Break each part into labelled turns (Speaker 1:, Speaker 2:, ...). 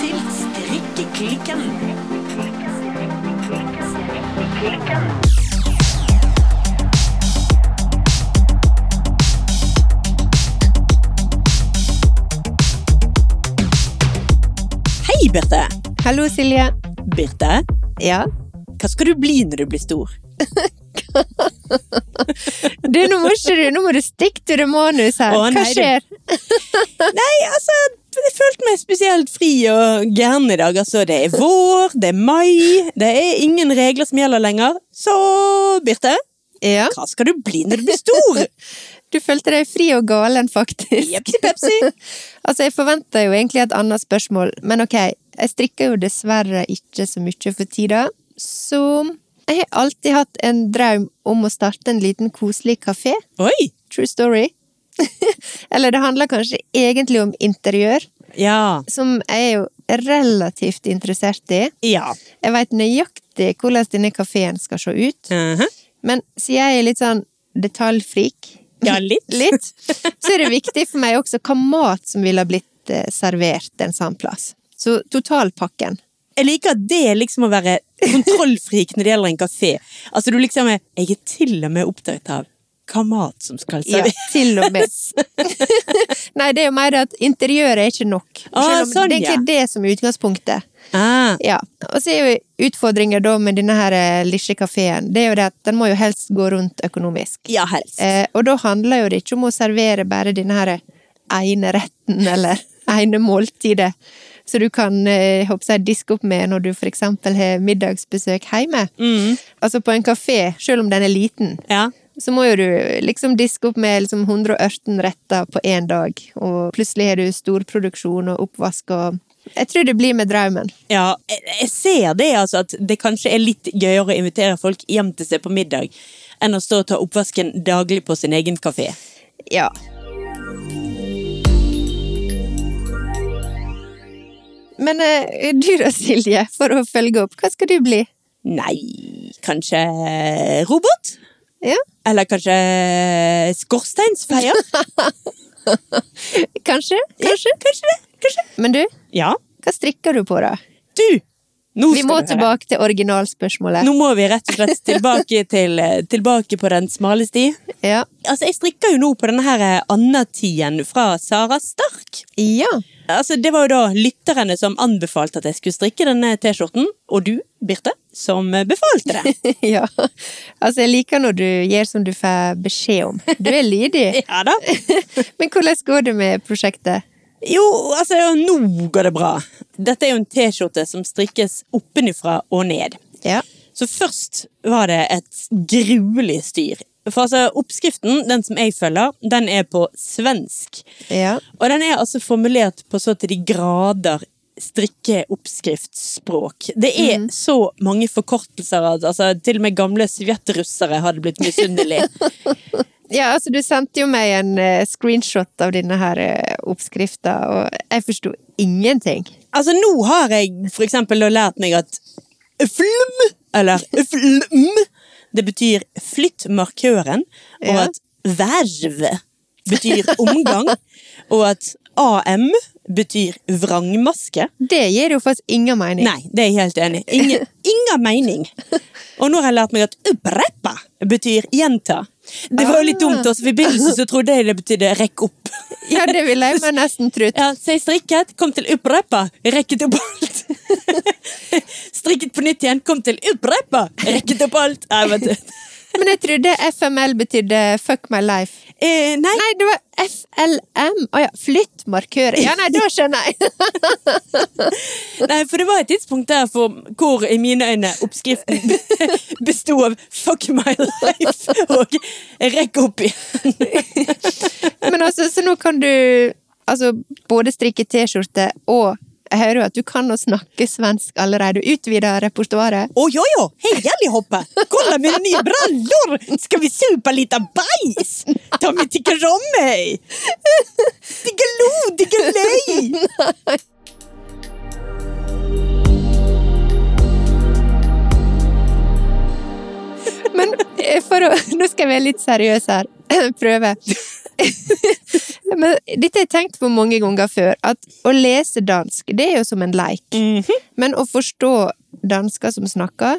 Speaker 1: til Strikkeklikken. Hei, Birte.
Speaker 2: Hallo, Silje.
Speaker 1: Birte,
Speaker 2: Ja?
Speaker 1: hva skal du bli når du blir stor?
Speaker 2: Du, nå må ikke du, nå må du stikke til det manus her.
Speaker 1: Å,
Speaker 2: Hva
Speaker 1: nei, du-
Speaker 2: skjer?
Speaker 1: Nei, altså, jeg følte meg spesielt fri og gæren i dag. Altså, det er vår, det er mai, det er ingen regler som gjelder lenger. Så, Birte,
Speaker 2: Ja?
Speaker 1: hva skal du bli når du blir stor?
Speaker 2: Du følte deg fri og galen, faktisk.
Speaker 1: Jepsi pepsi.
Speaker 2: Altså, jeg forventa jo egentlig et annet spørsmål, men ok, jeg strikker jo dessverre ikke så mye for tida, så jeg har alltid hatt en drøm om å starte en liten koselig kafé.
Speaker 1: Oi!
Speaker 2: True story. Eller det handler kanskje egentlig om interiør,
Speaker 1: Ja.
Speaker 2: som jeg er jo relativt interessert i.
Speaker 1: Ja.
Speaker 2: Jeg veit nøyaktig hvordan denne kafeen skal se ut, men siden jeg er litt sånn detaljfrik,
Speaker 1: Ja, litt.
Speaker 2: litt, så er det viktig for meg også hva mat som ville ha blitt eh, servert en sånn plass. Så totalpakken.
Speaker 1: Jeg liker at det er liksom å være kontrollfrik når det gjelder en kafé. Altså, du liksom er Jeg er til og med opptatt av hva mat som skal
Speaker 2: Ja,
Speaker 1: serveres.
Speaker 2: til og med. Nei, det er jo mer det at interiøret er ikke nok.
Speaker 1: Ah,
Speaker 2: Selv om
Speaker 1: sånn,
Speaker 2: det er
Speaker 1: ja.
Speaker 2: ikke det som er utgangspunktet.
Speaker 1: Ah,
Speaker 2: Ja, Og så er jo utfordringa da med denne her eh, lille kafeen, det er jo det at den må jo helst gå rundt økonomisk.
Speaker 1: ja, helst.
Speaker 2: Eh, og da handler jo det ikke om å servere bare denne her ene retten eller ene måltidet, så du kan eh, håper jeg, diske opp med når du for eksempel har middagsbesøk hjemme. Altså på en kafé, selv om den er liten,
Speaker 1: Ja.
Speaker 2: så må jo du liksom diske opp med liksom 118 retter på én dag, og plutselig har du storproduksjon og oppvask og Jeg tror det blir med drømmen.
Speaker 1: Ja, jeg, jeg ser det, altså, at det kanskje er litt gøyere å invitere folk hjem til seg på middag enn å stå og ta oppvasken daglig på sin egen kafé.
Speaker 2: Ja. Men eh, du da, Silje, for å følge opp, hva skal du bli?
Speaker 1: Nei, kanskje robot?
Speaker 2: Ja,
Speaker 1: Eller kanskje skorsteinsfeier?
Speaker 2: kanskje?
Speaker 1: Kanskje, kanskje det. Kanskje.
Speaker 2: Men du,
Speaker 1: Ja.
Speaker 2: hva strikker du på, da?
Speaker 1: Du! Nå
Speaker 2: Vi
Speaker 1: skal
Speaker 2: må
Speaker 1: du høre.
Speaker 2: tilbake til originalspørsmålet.
Speaker 1: Nå må vi rett og slett tilbake, til, eh, tilbake på den smale sti.
Speaker 2: Ja.
Speaker 1: Altså, jeg strikker jo nå på denne her eh, Anna-tien fra Sara Stark.
Speaker 2: ja.
Speaker 1: Altså, det var jo da lytterne som anbefalte at jeg skulle strikke denne T-skjorten, og du, Birte, som eh, befalte det.
Speaker 2: ja. Altså, jeg liker når du gjør som du får beskjed om. Du er lydig.
Speaker 1: Ja da.
Speaker 2: Men hvordan går det med prosjektet?
Speaker 1: Jo, altså, nå går det bra. Dette er jo en T-skjorte som strikkes oppenifra og ned.
Speaker 2: Ja.
Speaker 1: Så først var det et gruelig styr. For altså, oppskriften, den som jeg følger, den er på svensk.
Speaker 2: Ja.
Speaker 1: Og den er altså formulert på så til de grader strikkeoppskriftsspråk. Det er så mange forkortelser at altså, til og med gamle sovjetrussere hadde blitt misunnelige.
Speaker 2: Ja, altså du sendte jo meg en eh, screenshot av denne her eh, oppskrifta, og jeg forsto ingenting.
Speaker 1: altså, nå har jeg for eksempel da lært meg at flm, eller flm, det betyr flytt markøren, og
Speaker 2: Ja.
Speaker 1: at verv betyr omgang, og at AM betyr vrangmaske.
Speaker 2: Det gir jo faktisk ingen mening.
Speaker 1: Nei, det er jeg helt enig i. Ingen, ingen mening. Og nå har jeg lært meg at uppreppa betyr gjenta. Det var jo litt dumt, også, for i begynnelsen så trodde jeg det betydde rekk opp.
Speaker 2: Ja, det ville jeg meg nesten trodd.
Speaker 1: Ja, så jeg strikket, kom til uppreppa, rekket opp alt. Strikket på nytt igjen, kom til uppreppa, rekket opp alt. Nei, vet du.
Speaker 2: Men jeg trodde FML betydde fuck my life.
Speaker 1: Eh, nei,
Speaker 2: Nei, det var FLM. Å ja, flytt markører. Ja, nei, da skjønner jeg.
Speaker 1: nei, for det var et tidspunkt der for, hvor i mine øyne oppskriften besto av fuck my life og rekk opp igjen.
Speaker 2: Men altså, så nå kan du altså både strikke T-skjorte og jeg hører jo at du kan å snakke svensk allerede. Du utvider repertoaret.
Speaker 1: Oj, oj, oj! Hej allihopa! Kolla mina nya brallor! Ska vi supa lite bajs? Ta mig tycker om mig! Diggiloo, diggiley!
Speaker 2: Men eh, for å Nå skal jeg være litt seriøs her. Prøve. Men dette har jeg tenkt på mange ganger før, at å lese dansk, det er jo som en leik.
Speaker 1: Mhm.
Speaker 2: Men å forstå dansker som snakker,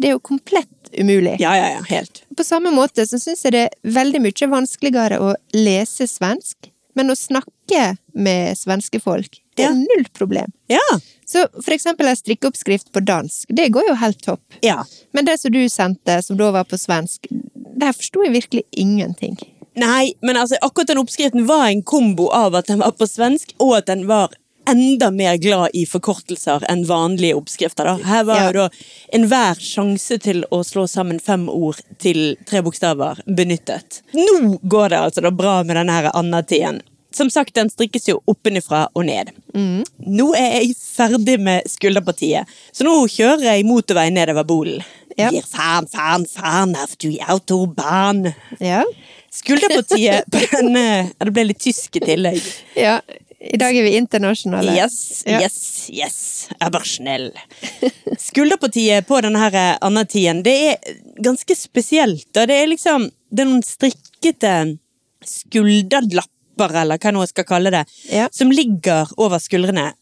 Speaker 2: det er jo komplett umulig.
Speaker 1: Ja, ja, ja. Helt.
Speaker 2: På samme måte så syns jeg det er veldig mye vanskeligere å lese svensk, men å snakke med svenske folk, det er
Speaker 1: Ja.
Speaker 2: null problem.
Speaker 1: Ja.
Speaker 2: Så for eksempel en strikkeoppskrift på dansk, det går jo helt topp.
Speaker 1: ja.
Speaker 2: Men det som du sendte, som da var på svensk, der forsto jeg virkelig ingenting.
Speaker 1: Nei, men altså, akkurat den oppskriften var en kombo av at den var på svensk, og at den var enda mer glad i forkortelser enn vanlige oppskrifter. Da. Her var
Speaker 2: Ja.
Speaker 1: jo da enhver sjanse til å slå sammen fem ord til tre bokstaver benyttet. Nå går det altså da bra med den her Anna-tiden. Som sagt, den strikkes jo oppenifra og ned.
Speaker 2: Mm.
Speaker 1: Nå er jeg ferdig med skulderpartiet, så nå kjører jeg motorvei nedover bolen.
Speaker 2: Ja.
Speaker 1: Gir faen, faen, faen av du autobahn.
Speaker 2: Ja.
Speaker 1: Skulderpartiet på denne ja, Det ble litt tysk i tillegg.
Speaker 2: ja. I dag er vi internasjonale.
Speaker 1: Yes,
Speaker 2: Ja.
Speaker 1: yes, yes. Jeg var snill. Skulderpartiet på denne her Anna-tiden, det er ganske spesielt. Og det er liksom Det er noen strikkete skulderlapper, eller hva jeg nå skal kalle det,
Speaker 2: Ja.
Speaker 1: som ligger over skuldrene.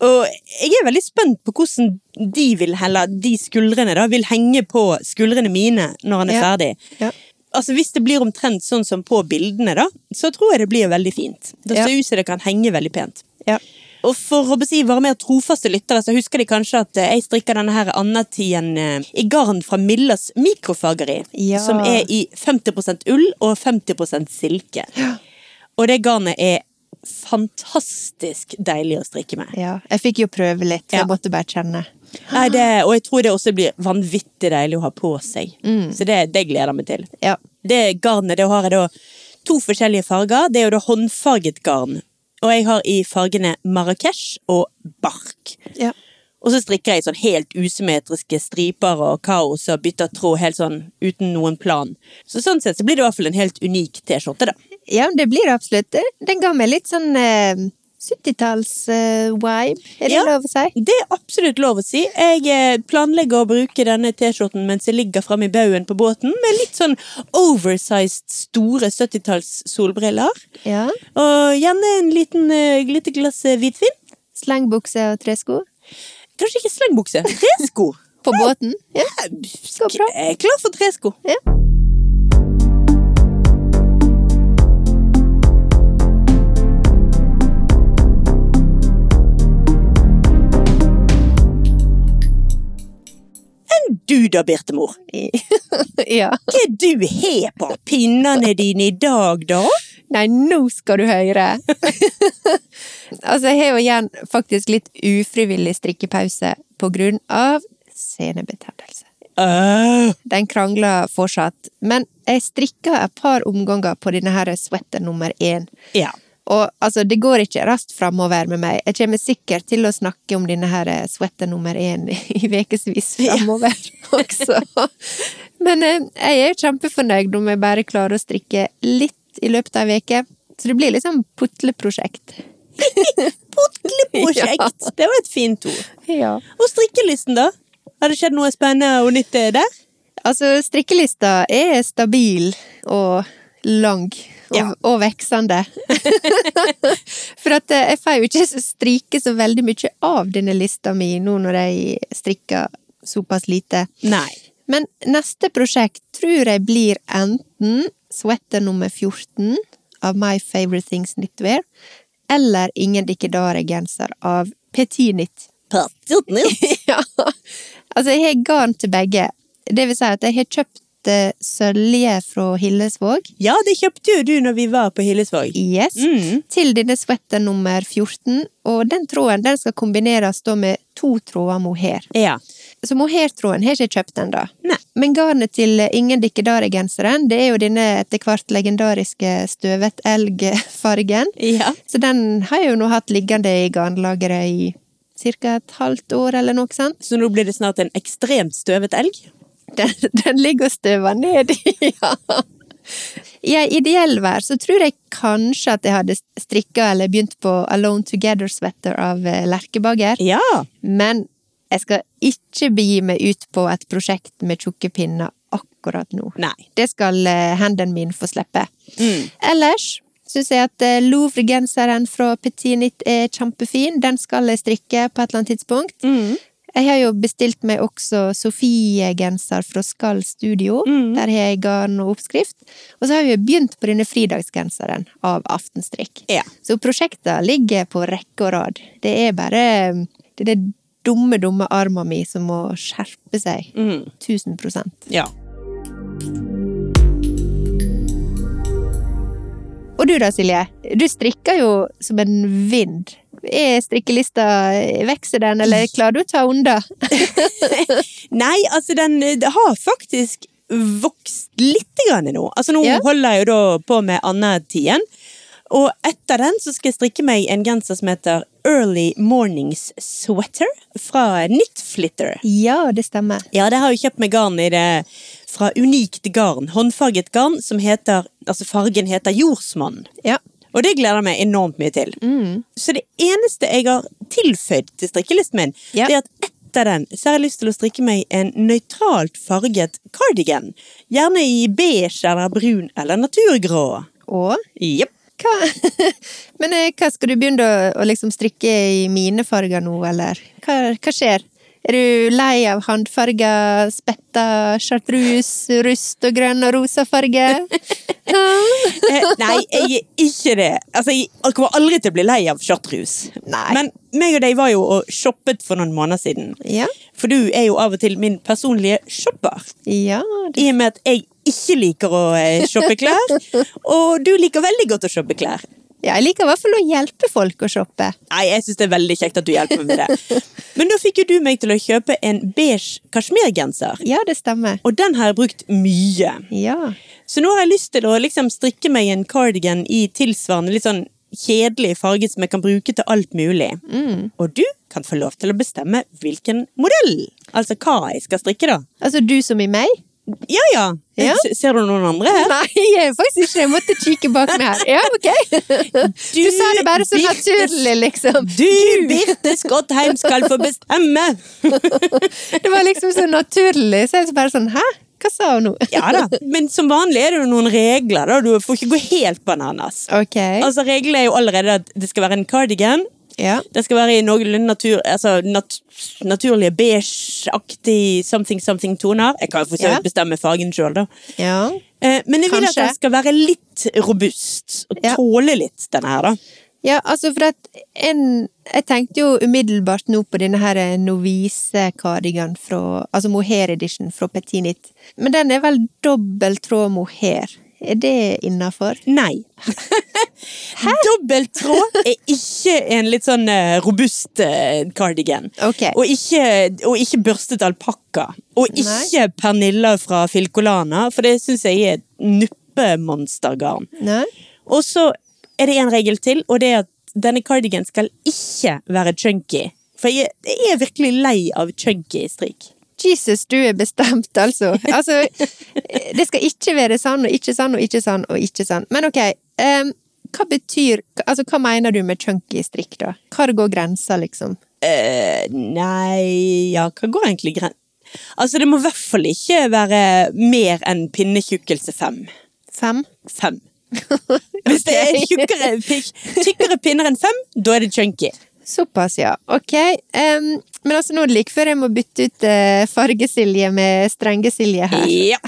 Speaker 1: Og jeg er veldig spent på hvordan de vil heller, de skuldrene da, vil henge på skuldrene mine når han er
Speaker 2: Ja.
Speaker 1: ferdig.
Speaker 2: Ja.
Speaker 1: Altså Hvis det blir omtrent sånn som på bildene, da, så tror jeg det blir veldig fint. Det
Speaker 2: Ja.
Speaker 1: ser ut som det kan henge veldig pent.
Speaker 2: Ja.
Speaker 1: Og for å si våre mer trofaste lyttere, så husker de kanskje at eh, jeg strikker denne her Anna-tiden eh, i garn fra Millers mikrofageri,
Speaker 2: Ja.
Speaker 1: som er i 50 ull og 50 silke. Og det garnet er fantastisk deilig å strikke med.
Speaker 2: Ja. Jeg fikk jo prøve litt, for
Speaker 1: Ja.
Speaker 2: jeg måtte bare kjenne.
Speaker 1: Nei, det, og jeg tror det også blir vanvittig deilig å ha på seg.
Speaker 2: Mm.
Speaker 1: Så det, det gleder jeg meg til.
Speaker 2: Ja.
Speaker 1: Det garnet, det har jeg da to forskjellige farger. Det er jo da håndfarget garn. Og jeg har i fargene Marrakech og bark.
Speaker 2: Ja.
Speaker 1: Og så strikker jeg i sånn helt usymmetriske striper og kaos og bytter tråd helt sånn uten noen plan. Så sånn sett så blir det i hvert fall en helt unik T-skjorte, da.
Speaker 2: ja, det blir det absolutt. Det- Den ga meg litt sånn eh, 70-talls-vibe, er det
Speaker 1: Ja.
Speaker 2: lov å si?
Speaker 1: Det er absolutt lov å si. Jeg eh, planlegger å bruke denne T-skjorten mens jeg ligger framme i baugen på båten, med litt sånn oversized, store 70-talls solbriller.
Speaker 2: Ja.
Speaker 1: Og gjerne en liten, eh, lite glass eh, hvitvin.
Speaker 2: Slengbukse og tresko
Speaker 1: Kanskje ikke slengbukse. Tresko.
Speaker 2: på båten. Ja. Går bra.
Speaker 1: Jeg er klar for tresko.
Speaker 2: Ja.
Speaker 1: Enn du da, Birtemor.
Speaker 2: ja.
Speaker 1: Hva er du har på pinnene dine i dag, da?
Speaker 2: Nei, nå skal du høre! altså, jeg har jo igjen faktisk litt ufrivillig strikkepause på grunn av senebetennelse.
Speaker 1: Uh,
Speaker 2: Den krangler fortsatt, men jeg strikker et par omganger på denne her sweater nummer én.
Speaker 1: ja.
Speaker 2: Og altså, det går ikke raskt framover med meg. Jeg kommer sikkert til å snakke om denne her eh, sweater nummer én i ukevis framover også. Men eh, jeg er kjempefornøyd om jeg bare klarer å strikke litt i løpet av ei uke. Så det blir liksom putleprosjekt.
Speaker 1: Prosjekt. Det var et fint ord.
Speaker 2: Ja.
Speaker 1: Og strikkelisten, da? Har det skjedd noe spennende og nytt eh, der?
Speaker 2: Altså, strikkelista er stabil og lang og,
Speaker 1: Ja.
Speaker 2: og veksende. For at eh, jeg får jo ikke så strike så veldig mye av denne lista mi nå når jeg strikker såpass lite.
Speaker 1: Nei.
Speaker 2: Men neste prosjekt tror jeg blir enten sweater nummer 14 av My Favorite Things Knitwear, eller Ingen Dikkedare-genser av Petit Knit.
Speaker 1: Partiet nytt.
Speaker 2: Ja. Altså, jeg har garn til begge. Det vil si at jeg har kjøpt eh, sølje fra Hillesvåg.
Speaker 1: Ja, det kjøpte jo du når vi var på Hillesvåg.
Speaker 2: Yes.
Speaker 1: Mm.
Speaker 2: Til denne sweater nummer 14. Og den tråden den skal kombineres da med to tråder mohair.
Speaker 1: Ja.
Speaker 2: Så mohairtråden har jeg ikke kjøpt ennå.
Speaker 1: Nei.
Speaker 2: Men garnet til eh, Ingen Dikkedare-genseren, det er jo denne etter hvert legendariske støvet elg-fargen.
Speaker 1: Ja.
Speaker 2: Så den har jeg jo nå hatt liggende i garnlageret i ca. et halvt år eller noe sånt.
Speaker 1: Så nå blir det snart en ekstremt støvet elg?
Speaker 2: den, den ligger og støver ned i. Ja. I ei ideell vær så tror jeg kanskje at jeg hadde strikka eller begynt på Alone Together Sweater av eh, Lerkebager.
Speaker 1: Ja.
Speaker 2: Men jeg skal ikke begi meg ut på et prosjekt med tjukke pinner akkurat nå.
Speaker 1: Nei.
Speaker 2: Det skal eh, hendene mine få slippe.
Speaker 1: Mm.
Speaker 2: Ellers syns jeg at eh, Louvre-genseren fra Petit Nit er kjempefin. Den skal jeg strikke på et eller annet tidspunkt.
Speaker 1: Mm.
Speaker 2: Jeg har jo bestilt meg også Sofie-genser fra Skall Studio. Der har jeg garn og oppskrift. Og så har vi jo begynt på denne fridagsgenseren av Aftenstrikk.
Speaker 1: Ja.
Speaker 2: Så prosjektene ligger på rekke og rad. Det er bare mm, det, er det dumme, dumme arma mi som må skjerpe seg. 1000
Speaker 1: Mm. Ja.
Speaker 2: Og du da, Silje? Du strikker jo som en vind. Er strikkelista Vokser den, eller klarer du å ta unna?
Speaker 1: Nei, altså den eh, det har faktisk vokst litt grann nå. Altså nå
Speaker 2: Ja.
Speaker 1: holder jeg jo da på med Anna-tiden. Og etter den så skal jeg strikke meg en genser som heter Early Mornings Sweater fra Knitflitter.
Speaker 2: Ja, det stemmer.
Speaker 1: Ja, det har jeg kjøpt meg garn i det fra Unikt Garn. Håndfarget garn som heter Altså fargen heter Jordsmonn.
Speaker 2: Ja.
Speaker 1: Og det gleder jeg meg enormt mye til.
Speaker 2: Mm.
Speaker 1: Så det eneste jeg har tilføyd til strikkelisten min,
Speaker 2: Ja.
Speaker 1: det er at etter den så har jeg lyst til å strikke meg en nøytralt farget cardigan. Gjerne i beige eller brun eller naturgrå.
Speaker 2: Og
Speaker 1: Jepp.
Speaker 2: hva Men eh, hva skal du begynne å, å liksom strikke i mine farger nå, eller? Hva, hva skjer? Er du lei av håndfarger, spetta, chartreuse, rust og grønn og rosa farge?
Speaker 1: Eh, nei, jeg er ikke det. Altså, jeg kommer aldri til å bli lei av chartreuse.
Speaker 2: Nei.
Speaker 1: Men meg og deg var jo og shoppet for noen måneder siden.
Speaker 2: Ja.
Speaker 1: For du er jo av og til min personlige shopper.
Speaker 2: Ja, det,
Speaker 1: I og med at jeg ikke liker å eh, shoppe klær, og du liker veldig godt å shoppe klær.
Speaker 2: ja, jeg liker i hvert fall å hjelpe folk å shoppe.
Speaker 1: Nei, jeg synes det er veldig kjekt at du hjelper meg med det. Men da fikk jo du meg til å kjøpe en beige kasjmirgenser.
Speaker 2: Ja, det stemmer.
Speaker 1: Og den har jeg brukt mye.
Speaker 2: Ja.
Speaker 1: Så nå har jeg lyst til å liksom strikke meg en cardigan i tilsvarende litt sånn kjedelig farge som jeg kan bruke til alt mulig. Og du kan få lov til å bestemme hvilken modell. Altså hva jeg skal strikke, da.
Speaker 2: Altså, du som i meg?
Speaker 1: Ja ja.
Speaker 2: Ja.
Speaker 1: S- Ser du noen andre her?
Speaker 2: Nei, jeg er faktisk ikke Jeg måtte kikke bak meg her. Ja, ok. Du sa det bare så
Speaker 1: Birte-
Speaker 2: naturlig, liksom.
Speaker 1: Du, Birte Skottheim, skal få bestemme!
Speaker 2: Det var liksom så naturlig. Så jeg bare sånn Hæ? Hva sa hun nå?
Speaker 1: Ja da. Men som vanlig er det jo noen regler, da. Du får ikke gå helt bananas.
Speaker 2: Ok.
Speaker 1: Altså, reglene er jo allerede at det skal være en cardigan.
Speaker 2: Ja.
Speaker 1: Det skal være i noenlunde natur, altså, nat naturlige beige-aktig something something toner. Jeg kan jo for så
Speaker 2: Ja.
Speaker 1: vidt bestemme fargen sjøl, da.
Speaker 2: ja.
Speaker 1: Eh, men jeg vil
Speaker 2: Kanskje.
Speaker 1: at den skal være litt robust, og
Speaker 2: Ja.
Speaker 1: tåle litt, denne her, da.
Speaker 2: Ja, altså, for at en Jeg tenkte jo umiddelbart nå på denne her eh, novise-kardigan fra Altså mohair edition fra Petinit. Men den er vel dobbelt tråd mohair. Er det innafor?
Speaker 1: Nei. Dobbelt tråd er ikke en litt sånn eh, robust eh, cardigan.
Speaker 2: Ok.
Speaker 1: Og, ikke, og ikke børstet alpakka. Og
Speaker 2: Nei.
Speaker 1: ikke Pernilla fra Filcolana, for det syns jeg er et nuppemonstergarn.
Speaker 2: Nei?
Speaker 1: Og så er det en regel til, og det er at denne cardigan skal ikke være chunky. For jeg, jeg er virkelig lei av chunky strikk.
Speaker 2: Jesus, du er bestemt, altså. altså det skal ikke være sånn og ikke sånn og ikke sånn og ikke sånn. Men ok, em, hva betyr Altså, hva mener du med chunky strikk, da? Hvor går grensa, liksom?
Speaker 1: Eh, nei, ja, hva går egentlig gren... Altså, det må i hvert fall ikke være mer enn pinnetjukkelse fem.
Speaker 2: Fem?
Speaker 1: Fem. Hvis det er tjukkere, pi- tykkere pinner enn fem, da er det chunky.
Speaker 2: Såpass, ja. Ok. em, men altså, nå er det like før jeg må bytte ut eh, fargesilje med strenge-Silje her.
Speaker 1: Ja.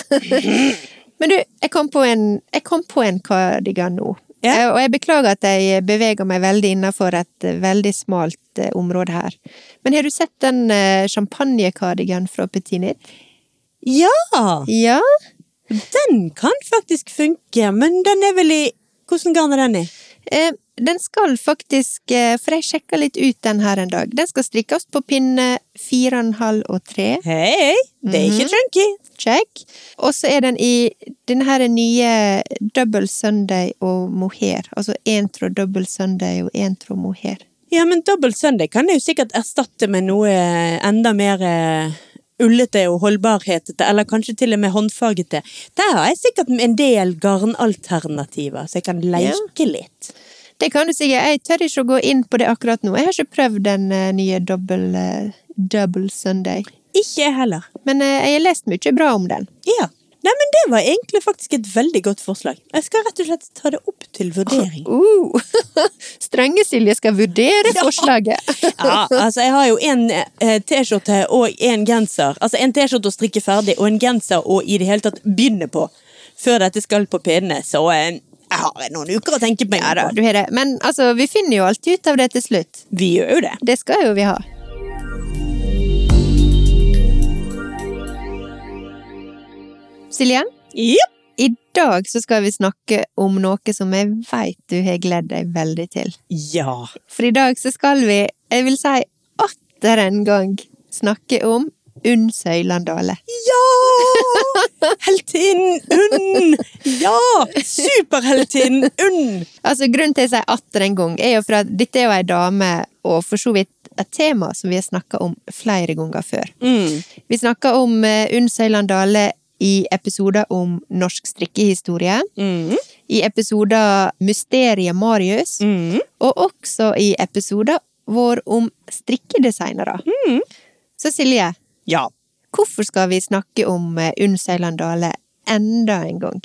Speaker 2: Men du, jeg kom på en, jeg kom på en kardigan nå.
Speaker 1: Ja.
Speaker 2: Eh, Og jeg beklager at jeg beveger meg veldig innenfor et eh, veldig smalt eh, område her. Men har du sett den eh, champagnekardigan fra Petit Nit?
Speaker 1: ja!
Speaker 2: Ja?
Speaker 1: Den kan faktisk funke, men den er vel i Hvordan garn er den i?
Speaker 2: Eh, Den skal faktisk, eh, for jeg sjekka litt ut den her en dag, den skal strikkes på pinne 4,5 og 3.
Speaker 1: Hei, Mhm. det er ikke chunky.
Speaker 2: Check. Og så er den i den her nye double Sunday og mohair. Altså én tråd double Sunday og én tråd mohair.
Speaker 1: Ja, men dobbelt søndag kan jeg jo sikkert erstatte med noe enda mer eh, ullete og holdbarhetete, eller kanskje til og med håndfargete. Der har jeg sikkert en del garnalternativer, så jeg kan leke litt.
Speaker 2: Det kan du sikkert. Jeg tør ikke å gå inn på det akkurat nå. Jeg har ikke prøvd den eh, nye Double, eh, double Sunday.
Speaker 1: Ikke jeg heller.
Speaker 2: Men eh, jeg har lest mye bra om den.
Speaker 1: Ja. Nei, men det var egentlig faktisk et veldig godt forslag. Jeg skal rett og slett ta det opp til vurdering.
Speaker 2: Uh, strenge Silje skal vurdere forslaget.
Speaker 1: Ja, altså jeg har jo en eh, T-skjorte og en genser. Altså en T-skjorte å strikke ferdig, og en genser å i det hele tatt begynne på. Før dette skal på pinnene, så eh, jeg har noen uker å tenke på.
Speaker 2: Ja da,
Speaker 1: på.
Speaker 2: du har det. Men altså, vi finner jo alltid ut av det til slutt.
Speaker 1: Vi gjør jo det.
Speaker 2: Det skal jo vi ha. Silje,
Speaker 1: Jepp.
Speaker 2: i dag så skal vi snakke om noe som jeg veit du har gledd deg veldig til.
Speaker 1: Ja.
Speaker 2: For i dag så skal vi, jeg vil si atter en gang, snakke om Unn Søylanddale.
Speaker 1: Ja! Heltinnen Unn! Ja! Superheltinnen Unn!
Speaker 2: Altså, grunnen til at jeg sier atter en gang, er jo for at dette er jo ei dame, og for så vidt et tema som vi har snakka om flere ganger før.
Speaker 1: Mm.
Speaker 2: Vi snakka om eh, Unn Søyland Dale i episoder om norsk strikkehistorie.
Speaker 1: Mm.
Speaker 2: I episoder Mysteriet Marius.
Speaker 1: Mm.
Speaker 2: Og også i episoder vår om strikkedesignere.
Speaker 1: Mm.
Speaker 2: Så Silje,
Speaker 1: Ja.
Speaker 2: hvorfor skal vi snakke om eh, Unn Søyland Dale enda en gang?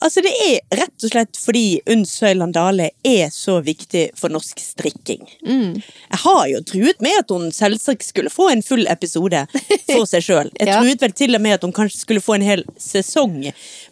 Speaker 1: Altså, det er rett og slett fordi Unn Søyland Dale er så viktig for norsk strikking. Jeg har jo truet med at hun selvsagt skulle få en full episode for seg sjøl. Jeg
Speaker 2: Ja.
Speaker 1: truet vel til og med at hun kanskje skulle få en hel sesong,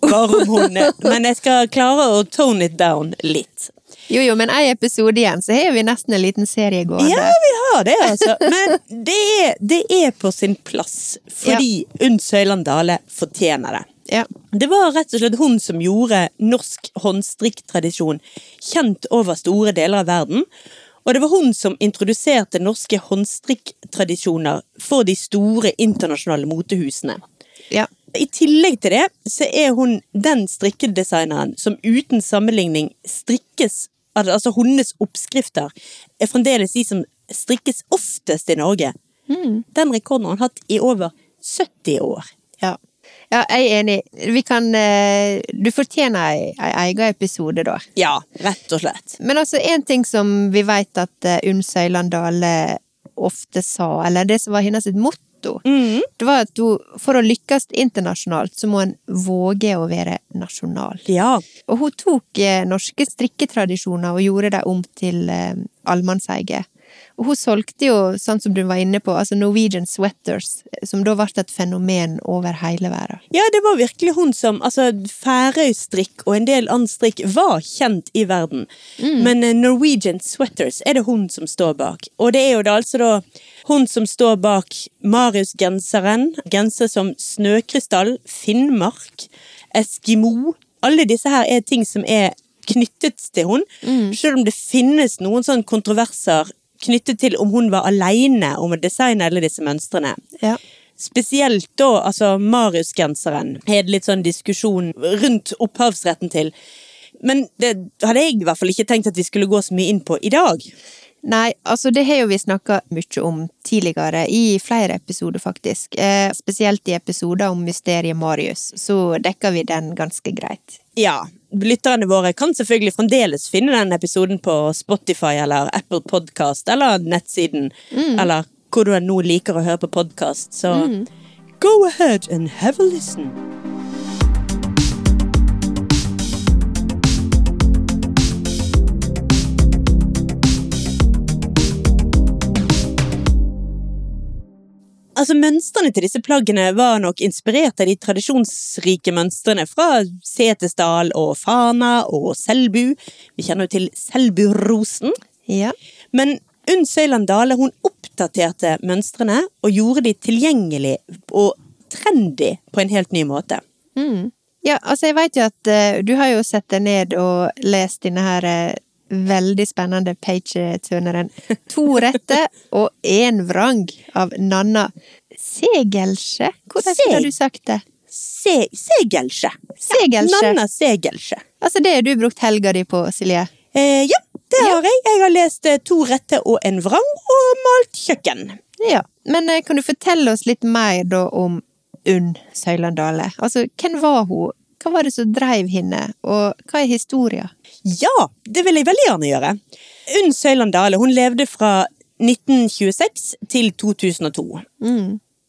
Speaker 1: bare om hun Men jeg skal klare å tone it down litt.
Speaker 2: Jo, jo, men ei episode igjen, så har vi nesten en liten serie gående.
Speaker 1: Ja, vi har det, altså. Men det er, det er på sin plass, fordi Unn Søyland Dale fortjener det.
Speaker 2: Ja.
Speaker 1: Det var rett og slett hun som gjorde norsk håndstrikktradisjon kjent over store deler av verden. Og det var hun som introduserte norske håndstrikktradisjoner for de store internasjonale motehusene.
Speaker 2: ja.
Speaker 1: I tillegg til det så er hun den strikkedesigneren som uten sammenligning strikkes al- Altså hennes oppskrifter er fremdeles de som strikkes oftest i Norge. Den rekorden har hun hatt i over 70 år.
Speaker 2: Ja. ja, jeg er enig. Vi kan eh, Du fortjener ei, ei egen episode, da.
Speaker 1: Ja, rett og slett.
Speaker 2: Men altså, én ting som vi veit at eh, Unn Søyland Dale ofte sa, eller det som var hennes sitt motto, det var at hun, for å lykkes internasjonalt, så må en våge å være nasjonal.
Speaker 1: Ja.
Speaker 2: Og hun tok eh, norske strikketradisjoner og gjorde dem om til eh, allmannseie. Og hun solgte jo, sånn som du var inne på, altså Norwegian sweaters, eh, som da ble et fenomen over hele verden.
Speaker 1: Ja, det var virkelig hun som Altså, Færøystrikk og en del annen strikk var kjent i verden. Men eh, Norwegian Sweaters er det hun som står bak. Og det er jo da altså da hun som står bak Marius-genseren, genser som Snøkrystall, Finnmark, Eskimo Alle disse her er ting som er knyttet til hun. Selv om det finnes noen sånne kontroverser knyttet til om hun var aleine om å designe alle disse mønstrene.
Speaker 2: Ja.
Speaker 1: Spesielt da, altså Marius-genseren, er det litt sånn diskusjon rundt opphavsretten til. Men det hadde jeg i hvert fall ikke tenkt at vi skulle gå så mye inn på i dag.
Speaker 2: Nei, altså det har jo vi snakka mye om tidligere, i flere episoder faktisk. Eh, spesielt i episoder om mysteriet Marius, så dekker vi den ganske greit.
Speaker 1: Ja, lytterne våre kan selvfølgelig fremdeles finne den episoden på Spotify eller Apple Podcast eller nettsiden, eller hvor du nå liker å høre på podkast, så go ahead and have a listen. Altså, Mønstrene til disse plaggene var nok inspirert av de tradisjonsrike mønstrene fra Setesdal og Fana og Selbu. Vi kjenner jo til Selburosen.
Speaker 2: Ja.
Speaker 1: Men Unn Søyland Dale hun oppdaterte mønstrene og gjorde de tilgjengelig og trendy på en helt ny måte.
Speaker 2: Mm. Ja, altså jeg veit jo at eh, du har jo sett deg ned og lest denne her eh, veldig spennende page-turneren To rette og én vrang av Nanna Segelsche. Hvordan
Speaker 1: Seg-
Speaker 2: har du sagt det?
Speaker 1: Se Segelsje.
Speaker 2: Segelsche.
Speaker 1: Nanna Segelsje.
Speaker 2: Altså det har du brukt helga di på, Silje.
Speaker 1: Eh, ja, det har jeg. Jeg har lest eh, To rette og en vrang og malt kjøkken.
Speaker 2: Ja, men eh, kan du fortelle oss litt mer da om Unn Søyland Dale? Altså, hvem var hun? Hva var det som dreiv henne, og hva er historien?
Speaker 1: Ja, det vil jeg veldig gjerne gjøre. Unn Søyland Dale hun levde fra 1926 til 2002.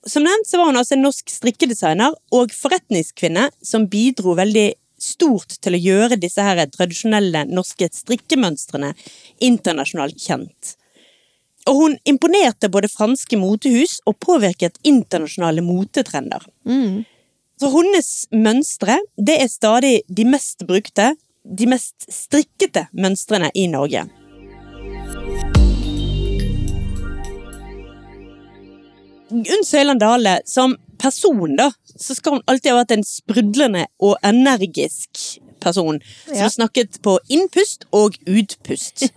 Speaker 1: Som nevnt så var hun altså en norsk strikkedesigner og forretningskvinne som bidro veldig stort til å gjøre disse her tradisjonelle norske strikkemønstrene internasjonalt kjent. Og hun imponerte både franske motehus og påvirket internasjonale motetrender. Så hennes mønstre det er stadig de mest brukte, de mest strikkete mønstrene i Norge. Unn Søyland Dale som person, da, så skal hun alltid ha vært en sprudlende og energisk person. Som
Speaker 2: Ja.
Speaker 1: snakket på innpust og utpust.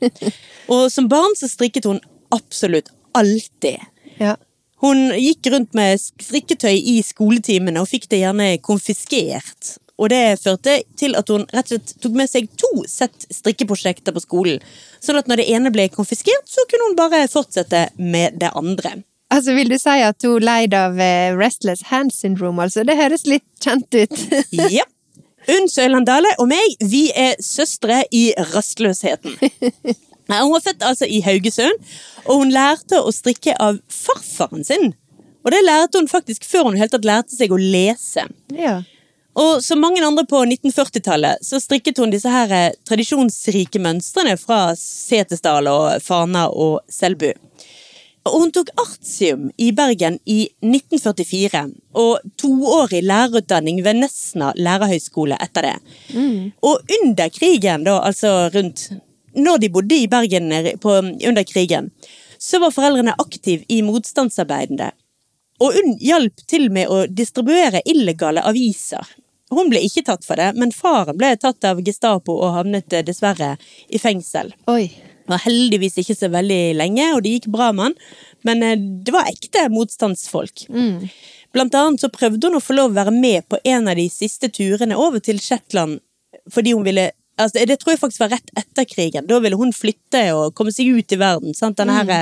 Speaker 1: og som barn så strikket hun absolutt alltid.
Speaker 2: Ja.
Speaker 1: Hun gikk rundt med strikketøy i skoletimene og fikk det gjerne konfiskert. Og det førte til at hun rett og slett tok med seg to sett strikkeprosjekter på skolen. Sånn at når det ene ble konfiskert, så kunne hun bare fortsette med det andre.
Speaker 2: Altså, Vil du si at hun leid av eh, restless hand syndrome? altså? Det høres litt kjent ut.
Speaker 1: Ja. Unn Søyland Dale og meg, vi er søstre i rastløsheten. Nei, Hun var født altså i Haugesund, og hun lærte å strikke av farfaren sin. Og det lærte hun faktisk før hun i det hele tatt lærte seg å lese.
Speaker 2: ja.
Speaker 1: Og som mange andre på 1940-tallet så strikket hun disse her eh, tradisjonsrike mønstrene fra Setesdal og Fana og Selbu. Og hun tok artium i Bergen i 1944 og toårig lærerutdanning ved Nesna lærerhøgskole etter det. Og under krigen, da, altså rundt Når de bodde i Bergen eh, på, under krigen, så var foreldrene aktive i motstandsarbeidene. Og Unn hjalp til med å distribuere illegale aviser. Hun ble ikke tatt for det, men faren ble tatt av Gestapo og havnet eh, dessverre i fengsel.
Speaker 2: Oi.
Speaker 1: Var heldigvis ikke så veldig lenge, og det gikk bra med han, men eh, det var ekte motstandsfolk.
Speaker 2: Mm.
Speaker 1: Blant annet så prøvde hun å få lov å være med på en av de siste turene over til Shetland, fordi hun ville altså, Det tror jeg faktisk var rett etter krigen. Da ville hun flytte og komme seg ut i verden. Sant? Denne
Speaker 2: Mm.
Speaker 1: her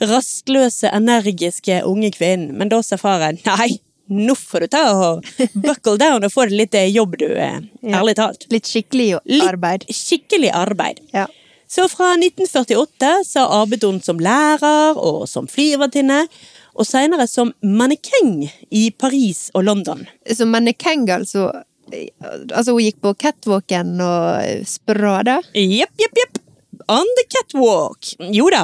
Speaker 1: eh, rastløse, energiske unge kvinnen. Men da sa faren nei, nå får du ta og buckle down og få deg litt eh, jobb, du. eh,
Speaker 2: Ja.
Speaker 1: Ærlig talt.
Speaker 2: Litt skikkelig jo-
Speaker 1: Litt
Speaker 2: arbeid.
Speaker 1: Skikkelig arbeid.
Speaker 2: Ja.
Speaker 1: Så fra 1948 så arbeidet hun som lærer og som flyvertinne, og senere som mannekeng i Paris og London.
Speaker 2: Så mannekeng, altså. eh, Altså, hun gikk på catwalken og eh, sprada.
Speaker 1: Jepp, jepp, jepp. On the catwalk. Jo da.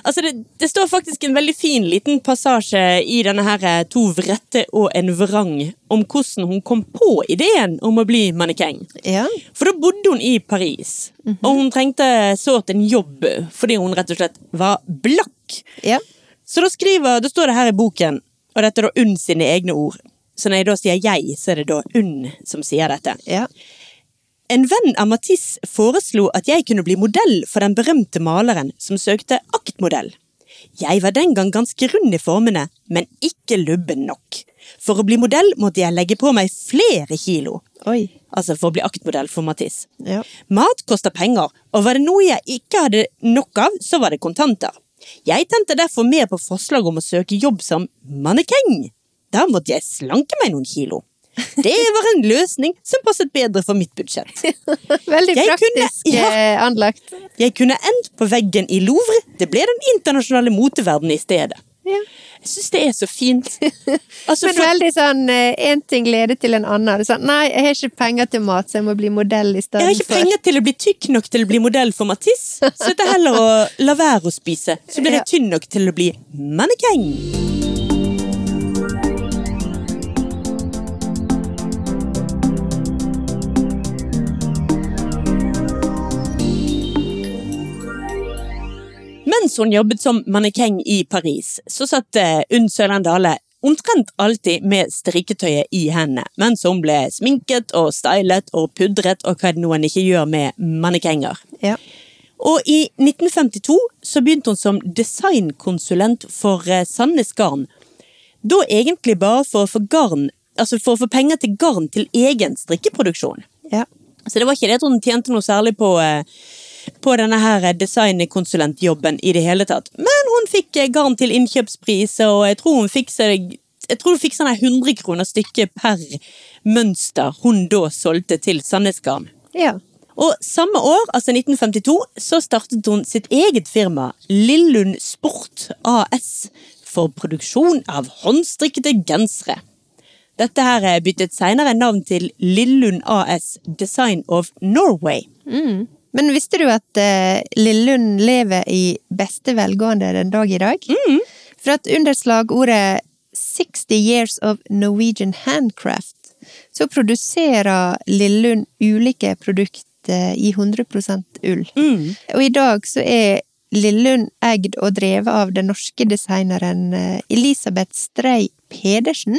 Speaker 1: Altså, det, det står faktisk en veldig fin liten passasje i denne her eh, To vrette og en vrang om hvordan hun kom på ideen om å bli mannekeng.
Speaker 2: Ja.
Speaker 1: For da bodde hun i Paris, og hun trengte sårt en jobb fordi hun rett og slett var blakk.
Speaker 2: ja.
Speaker 1: Så da skriver, da står det her i boken, og dette er da Unn sine egne ord. Så når jeg da sier jeg, så er det da Unn som sier dette.
Speaker 2: Ja.
Speaker 1: En venn av Matisse foreslo at jeg kunne bli modell for den berømte maleren som søkte aktmodell. Jeg var den gang ganske rund i formene, men ikke lubben nok. For å bli modell måtte jeg legge på meg flere kilo.
Speaker 2: Oi.
Speaker 1: Altså for å bli aktmodell for Matisse.
Speaker 2: Ja.
Speaker 1: Mat koster penger, og var det noe jeg ikke hadde nok av, så var det kontanter. Jeg tente derfor mer på forslag om å søke jobb som mannekeng. Da måtte jeg slanke meg noen kilo. Det var en løsning som passet bedre for mitt budsjett.
Speaker 2: Veldig
Speaker 1: Jeg kunne-
Speaker 2: praktisk eh, anlagt.
Speaker 1: Jeg kunne endt på veggen i Louvre, det ble den internasjonale moteverdenen i stedet.
Speaker 2: Ja.
Speaker 1: Jeg syns det er så fint. Altså,
Speaker 2: Men
Speaker 1: for-
Speaker 2: veldig sånn én ting leder til en annen. Det er Sånn, nei, jeg har ikke penger til mat, så jeg må bli modell i stedet.
Speaker 1: Jeg har ikke penger til å bli tykk nok til å bli modell for Matisse, så det er heller å la være å spise. Så blir jeg
Speaker 2: Ja.
Speaker 1: tynn nok til å bli mannekeng. Mens hun jobbet som mannekeng i Paris, så satt eh, Unn Søland Dale omtrent alltid med strikketøyet i hendene, mens hun ble sminket og stylet og pudret og hva det nå en ikke gjør med mannekenger.
Speaker 2: Ja.
Speaker 1: Og i 1952 så begynte hun som designkonsulent for eh, Sandnes Garn. Da egentlig bare for å få garn, altså for å få penger til garn til egen strikkeproduksjon.
Speaker 2: Ja.
Speaker 1: Så det var ikke det at hun tjente noe særlig på, eh, på denne her eh, designkonsulentjobben i det hele tatt. Men hun fikk eh, garn til innkjøpspris, og jeg tror hun fikk seg jeg tror hun fikk sånn her 100 kroner stykket per mønster hun da solgte til Sandnes Garn.
Speaker 2: ja.
Speaker 1: Og samme år, altså 1952, så startet hun sitt eget firma, Lillund Sport AS, for produksjon av håndstrikkede gensere. Dette her er byttet senere navn til Lillund AS Design of Norway.
Speaker 2: Mm. Men visste du at eh, Lillund lever i beste velgående den dag i dag?
Speaker 1: Mm.
Speaker 2: For at under slagordet 60 years of Norwegian handcraft, så produserer Lillund ulike produkter i 100 ull. Og i dag så er Lillund eid og drevet av den norske designeren eh, Elisabeth Strei Pedersen,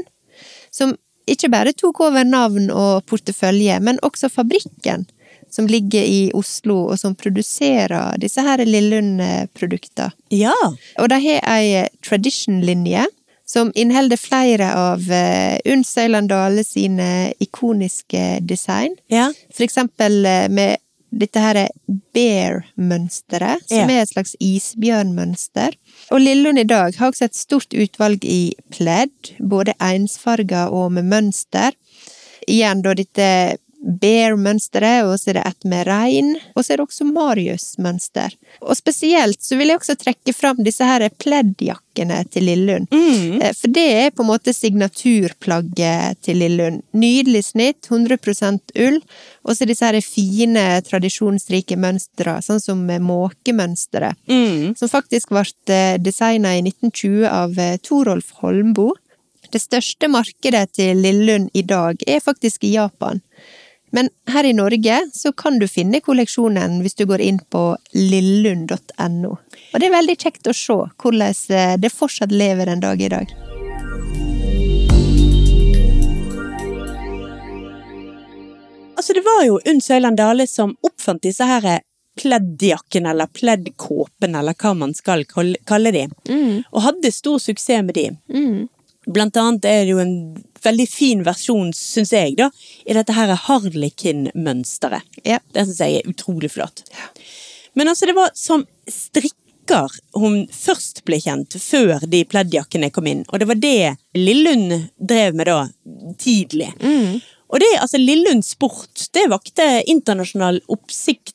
Speaker 2: som ikke bare tok over navn og portefølje, men også fabrikken som ligger i Oslo, og som produserer disse her Lillund-produkter.
Speaker 1: Ja.
Speaker 2: Og de har ei tradition-linje som inneholder flere av eh, Unn Søyland Dale sine ikoniske design.
Speaker 1: ja.
Speaker 2: For eksempel eh, med dette her bear-mønsteret, som
Speaker 1: Ja.
Speaker 2: er et slags isbjørnmønster. Og Lillund i dag har også et stort utvalg i pledd, både ensfarga og med mønster. Igjen da dette bear-mønsteret, og så er det et med rein, og så er det også Marius-mønster. Og spesielt så vil jeg også trekke fram disse her pleddjakkene til Lillund. Eh, For det er på en måte signaturplagget til Lillund. Nydelig snitt, 100 ull. Og så disse her fine, tradisjonsrike mønstre, sånn som eh, måkemønsteret. Som faktisk ble designa i 1920 av eh, Torolf Holmboe. Det største markedet til Lillund i dag er faktisk i Japan. Men her i Norge så kan du finne kolleksjonen hvis du går inn på lillund.no. Og det er veldig kjekt å se hvordan eh, det fortsatt lever en dag i dag.
Speaker 1: Altså, det var jo Unn Søyland Dale som oppfant disse her eh, pleddjakkene, eller pleddkåpene, eller hva man skal kall- kalle de. Og hadde stor suksess med de. Blant annet er det jo en veldig fin versjon, syns jeg, da, i dette her harlekin-mønsteret.
Speaker 2: Ja.
Speaker 1: Det syns jeg er utrolig flott. Men altså, det var som strikker hun først ble kjent, før de pleddjakkene kom inn. Og det var det Lillund drev med da, tidlig. Og det, altså, Lillund Sport det vakte internasjonal oppsikt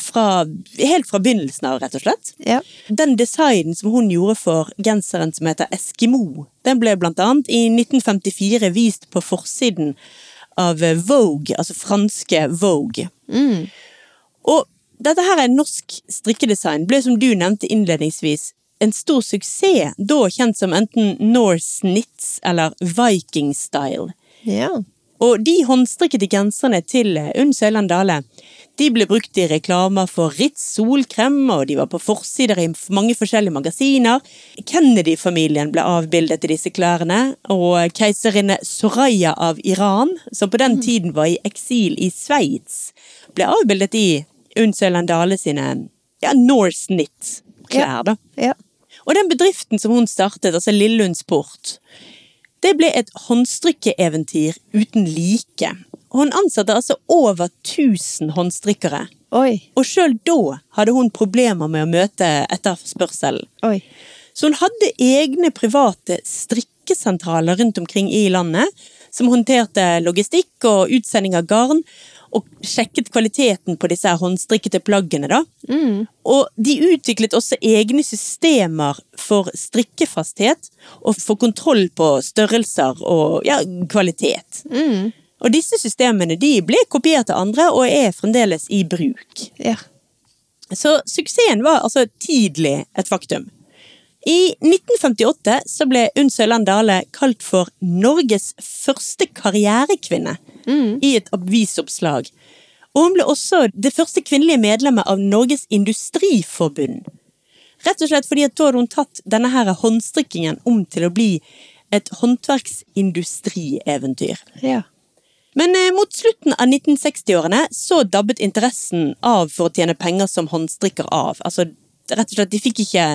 Speaker 1: fra, helt fra begynnelsen av, rett og slett.
Speaker 2: Ja.
Speaker 1: Den designen som hun gjorde for genseren som heter Eskimo, den ble blant annet i 1954 vist på forsiden av Vogue, altså franske Vogue. Og dette her er norsk strikkedesign, ble som du nevnte innledningsvis, en stor suksess, da kjent som enten Norse Knits eller Viking Style.
Speaker 2: ja.
Speaker 1: Og de håndstrikkede genserne til eh, Unn Søyland Dale de ble brukt i reklamer for Ritz solkrem, og de var på forsider i mange forskjellige magasiner. Kennedy-familien ble avbildet i disse klærne, og keiserinne Soraya av Iran, som på den tiden var i eksil i Sveits, ble avbildet i Unn Søyland Dale sine ja, Norse Knit-klær. da.
Speaker 2: ja.
Speaker 1: Og den bedriften som hun startet, altså Lillund Sport, det ble et håndstrikkeeventyr uten like. Og hun ansatte altså over 1000 håndstrikkere.
Speaker 2: Oi.
Speaker 1: Og sjøl da hadde hun problemer med å møte etterspørselen.
Speaker 2: Oi.
Speaker 1: Så hun hadde egne private strikkesentraler rundt omkring i landet, som håndterte logistikk og utsending av garn, og sjekket kvaliteten på disse her håndstrikkede plaggene. da. Og de utviklet også egne systemer for strikkefasthet, og for kontroll på størrelser og ja, kvalitet. Og disse systemene de ble kopiert av andre, og er fremdeles i bruk.
Speaker 2: Ja.
Speaker 1: Så suksessen var altså tidlig et faktum. I 1958 så ble Unn Søyland Dale kalt for Norges første karrierekvinne i et avisoppslag. Og hun ble også det første kvinnelige medlemmet av Norges Industriforbund. Rett og slett fordi at da hadde hun tatt denne her håndstrikkingen om til å bli et håndverksindustrieventyr.
Speaker 2: Ja.
Speaker 1: Men eh, mot slutten av 1960-årene så dabbet interessen av for å tjene penger som håndstrikker av. Altså, rett og slett, de fikk ikke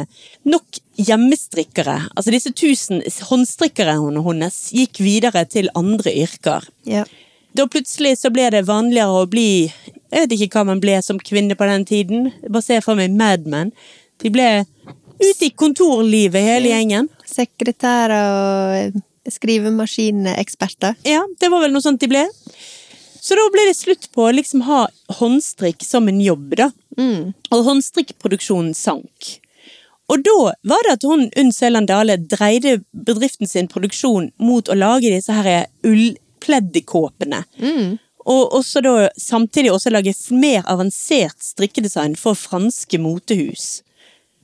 Speaker 1: nok hjemmestrikkere. Altså, disse tusen håndstrikkere hennes gikk videre til andre yrker.
Speaker 2: Ja.
Speaker 1: Da plutselig så ble det vanligere å bli Jeg vet ikke hva man ble som kvinne på den tiden. Jeg Bare se for meg Mad Men. De ble ute i kontorlivet, hele gjengen.
Speaker 2: Sekretærer og eh, skrivemaskineksperter.
Speaker 1: Ja, det var vel noe sånt de ble. Så da ble det slutt på å liksom ha håndstrikk som en jobb, da. Og håndstrikkproduksjonen sank. Og da var det at hun Unn Søland Dale dreide bedriften sin produksjon mot å lage disse her ullpleddekåpene. Og også da, samtidig også lage mer avansert strikkedesign for franske motehus.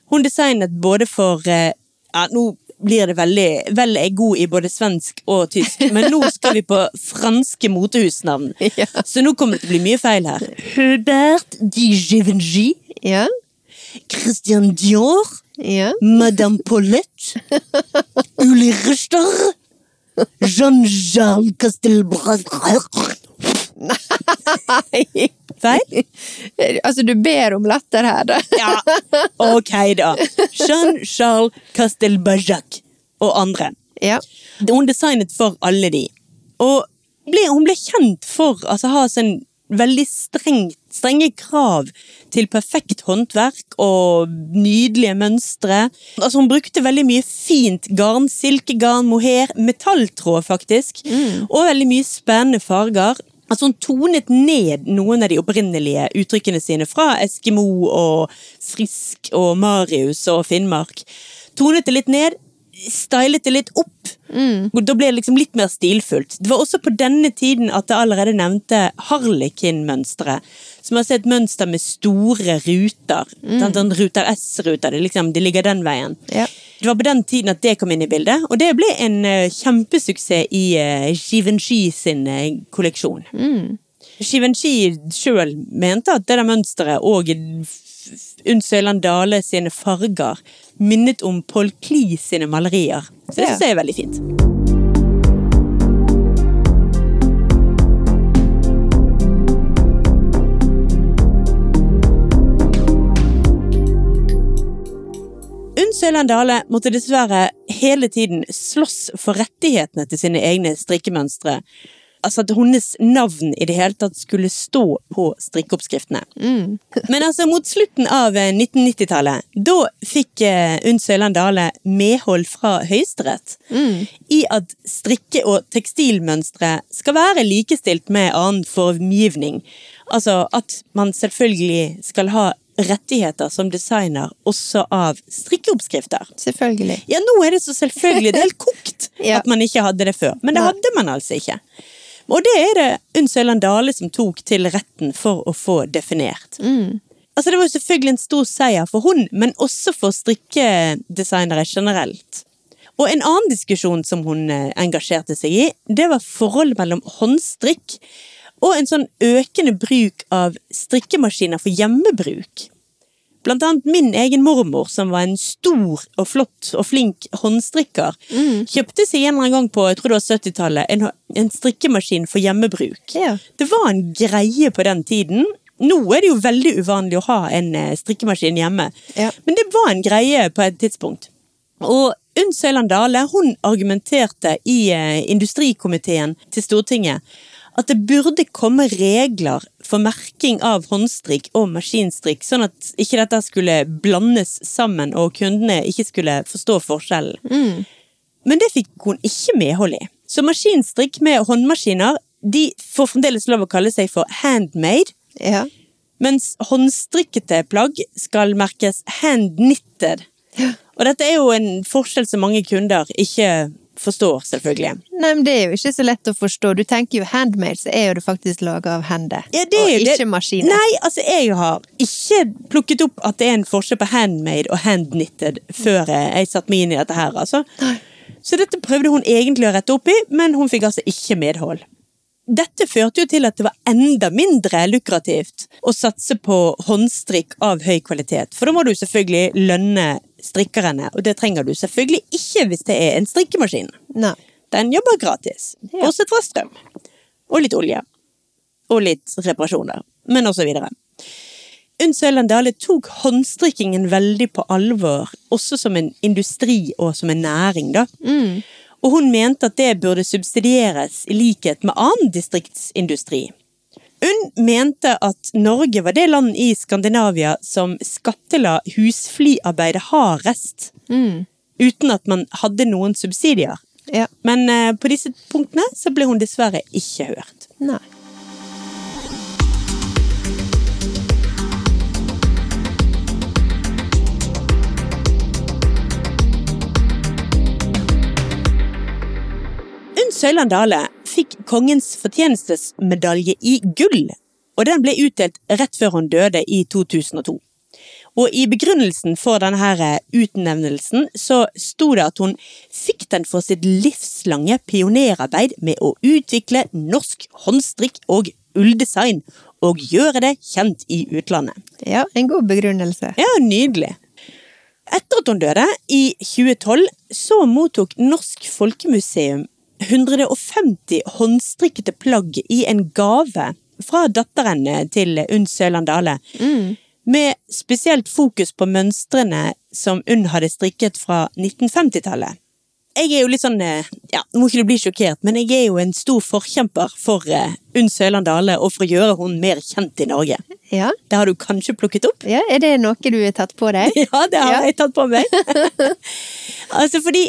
Speaker 1: Hun designet både for eh, Ja, nå blir det veldig Vel er jeg god i både svensk og tysk, men nå skal vi på franske motehusnavn.
Speaker 2: Ja.
Speaker 1: Så nå kommer det til å bli mye feil her. Hubert de Givenchy.
Speaker 2: Ja.
Speaker 1: Christian Dior.
Speaker 2: Ja.
Speaker 1: Madame Paulette. Uli Richter. Jean-Charles Castelbras...
Speaker 2: Nei.
Speaker 1: Feil?
Speaker 2: Altså, du ber om latter her, da.
Speaker 1: Ja, ok da. Jean-Charles Castelbajac og andre.
Speaker 2: Ja.
Speaker 1: Hun designet for alle de. Og ble, hun ble kjent for å altså, ha sånn veldig strengt, strenge krav til perfekt håndverk og nydelige mønstre. Altså, hun brukte veldig mye fint garn, silkegarn, mohair, metalltråd faktisk, og veldig mye spennende farger. Altså Hun tonet ned noen av de opprinnelige uttrykkene sine fra Eskimo og Frisk og Marius og Finnmark. Tonet det litt ned, stylet det litt opp. Og Da ble det liksom litt mer stilfullt. Det var også på denne tiden at det allerede nevnte harlekin-mønsteret. Som altså er et mønster med store ruter. Sånn, sånn ruter S-ruter. Det, er liksom, det ligger den veien.
Speaker 2: Ja.
Speaker 1: Det var på den tiden at det kom inn i bildet, og det ble en eh, kjempesuksess i eh, Givenchy sin eh, kolleksjon. Givenchy sjøl mente at det der mønsteret og Unn Søyland Dale sine farger minnet om Paul Klee sine malerier. Så det
Speaker 2: Ja.
Speaker 1: syns jeg er veldig fint. Unn Søyland Dale måtte dessverre hele tiden slåss for rettighetene til sine egne strikkemønstre. Altså at hennes navn i det hele tatt skulle stå på strikkeoppskriftene. Men altså, mot slutten av eh, 1990-tallet, da fikk eh, Unn Søyland Dale medhold fra Høyesterett i at strikke- og tekstilmønstre skal være likestilt med annen formgivning. Altså at man selvfølgelig skal ha rettigheter som designer også av strikkeoppskrifter.
Speaker 2: Selvfølgelig.
Speaker 1: Ja, nå er det så selvfølgelig det er helt kokt
Speaker 2: Ja.
Speaker 1: at man ikke hadde det før, men det
Speaker 2: Nei.
Speaker 1: hadde man altså ikke. Og det er det Unn Søyland Dale som tok til retten for å få definert.
Speaker 2: Mm.
Speaker 1: Altså, det var jo selvfølgelig en stor seier for hun, men også for strikkedesignere generelt. Og en annen diskusjon som hun eh, engasjerte seg i, det var forholdet mellom håndstrikk og en sånn økende bruk av strikkemaskiner for hjemmebruk. Blant annet min egen mormor, som var en stor og flott og flink håndstrikker, kjøpte seg en eller annen gang på jeg tror det var 70-tallet, en, en strikkemaskin for hjemmebruk.
Speaker 2: Ja.
Speaker 1: Det var en greie på den tiden. Nå er det jo veldig uvanlig å ha en eh, strikkemaskin hjemme,
Speaker 2: Ja.
Speaker 1: men det var en greie på et tidspunkt. Og Unn Søyland Dale hun argumenterte i eh, industrikomiteen til Stortinget at det burde komme regler for merking av håndstrikk og maskinstrikk, sånn at ikke dette skulle blandes sammen og kundene ikke skulle forstå forskjellen. Men det fikk hun ikke medhold i. Så maskinstrikk med håndmaskiner de får fremdeles lov å kalle seg for handmade,
Speaker 2: Ja.
Speaker 1: mens håndstrikkete plagg skal merkes handknitted. Og dette er jo en forskjell som mange kunder ikke forstår, selvfølgelig.
Speaker 2: Nei, men det er jo ikke så lett å forstå. Du tenker jo handmade, så er jo det faktisk laga av hender.
Speaker 1: Ja, det er
Speaker 2: og
Speaker 1: jo det-
Speaker 2: ikke maskiner.
Speaker 1: Nei, altså jeg har ikke plukket opp at det er en forskjell på handmade og handknitted før jeg jeg satte meg inn i dette her, altså. Så dette prøvde hun egentlig å rette opp i, men hun fikk altså ikke medhold. Dette førte jo til at det var enda mindre lukrativt å satse på håndstrikk av høy kvalitet, for da må du selvfølgelig lønne strikkerne, og det trenger du selvfølgelig ikke hvis det er en strikkemaskin.
Speaker 2: Nei.
Speaker 1: Den jobber gratis,
Speaker 2: Ja.
Speaker 1: bortsett fra strøm. Og litt olje. Og litt reparasjoner. Men også videre. Unn Søyland Dale tok håndstrikkingen veldig på alvor, også som en industri og som en næring, da. Og hun mente at det burde subsidieres i likhet med annen distriktsindustri. Unn mente at Norge var det land i Skandinavia som skattela husfliarbeidet hardest, uten at man hadde noen subsidier.
Speaker 2: Ja.
Speaker 1: Men eh, på disse punktene så ble hun dessverre ikke hørt.
Speaker 2: Nei.
Speaker 1: Søyland Dale fikk kongens fortjenestesmedalje i gull, og den ble utdelt rett før hun døde i 2002. Og i begrunnelsen for denne her eh, utnevnelsen så sto det at hun fikk den for sitt livslange pionerarbeid med å utvikle norsk håndstrikk og ulldesign, og gjøre det kjent i utlandet.
Speaker 2: Ja, en god begrunnelse.
Speaker 1: Ja, nydelig. Etter at hun døde, i 2012, så mottok Norsk Folkemuseum 150 håndstrikkede plagg i en gave fra datteren eh, til Unn Søland Dale, med spesielt fokus på mønstrene som Unn hadde strikket fra 1950-tallet. Jeg er jo litt sånn, eh, ja, nå må ikke du bli sjokkert, men jeg er jo en stor forkjemper for eh, Unn Søland Dale og for å gjøre hun mer kjent i Norge.
Speaker 2: Ja.
Speaker 1: Det har du kanskje plukket opp?
Speaker 2: ja, er det noe du har tatt på deg?
Speaker 1: Ja, det har
Speaker 2: Ja.
Speaker 1: jeg tatt på meg. altså fordi,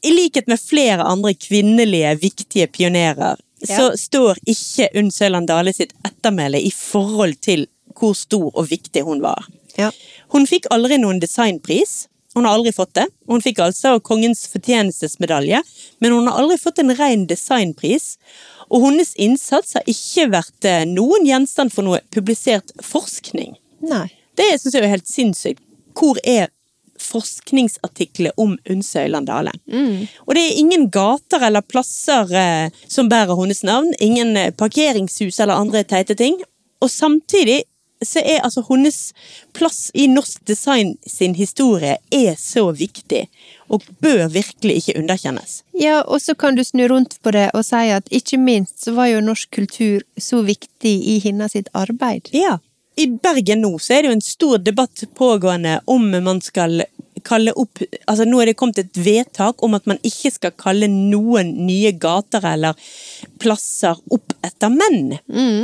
Speaker 1: i likhet med flere andre kvinnelige viktige pionerer,
Speaker 2: Ja.
Speaker 1: så står ikke Unn Søland Dale sitt ettermæle i forhold til hvor stor og viktig hun var.
Speaker 2: Ja.
Speaker 1: Hun fikk aldri noen designpris. Hun har aldri fått det. Hun fikk altså Kongens fortjenestesmedalje, men hun har aldri fått en ren designpris. Og hennes innsats har ikke vært eh, noen gjenstand for noe publisert forskning.
Speaker 2: Nei.
Speaker 1: Det syns jeg er helt sinnssykt. Hvor er forskningsartikler om Unse Øyland Dale? Og det er ingen gater eller plasser eh, som bærer hennes navn. Ingen eh, parkeringshus eller andre teite ting. Og samtidig så er altså hennes plass i norsk design sin historie er så viktig, og bør virkelig ikke underkjennes.
Speaker 2: Ja, og så kan du snu rundt på det og si at ikke minst så var jo norsk kultur så viktig i hennes sitt arbeid.
Speaker 1: Ja. I Bergen nå så er det jo en stor debatt pågående om man skal kalle opp Altså nå er det kommet et vedtak om at man ikke skal kalle noen nye gater eller plasser opp etter menn.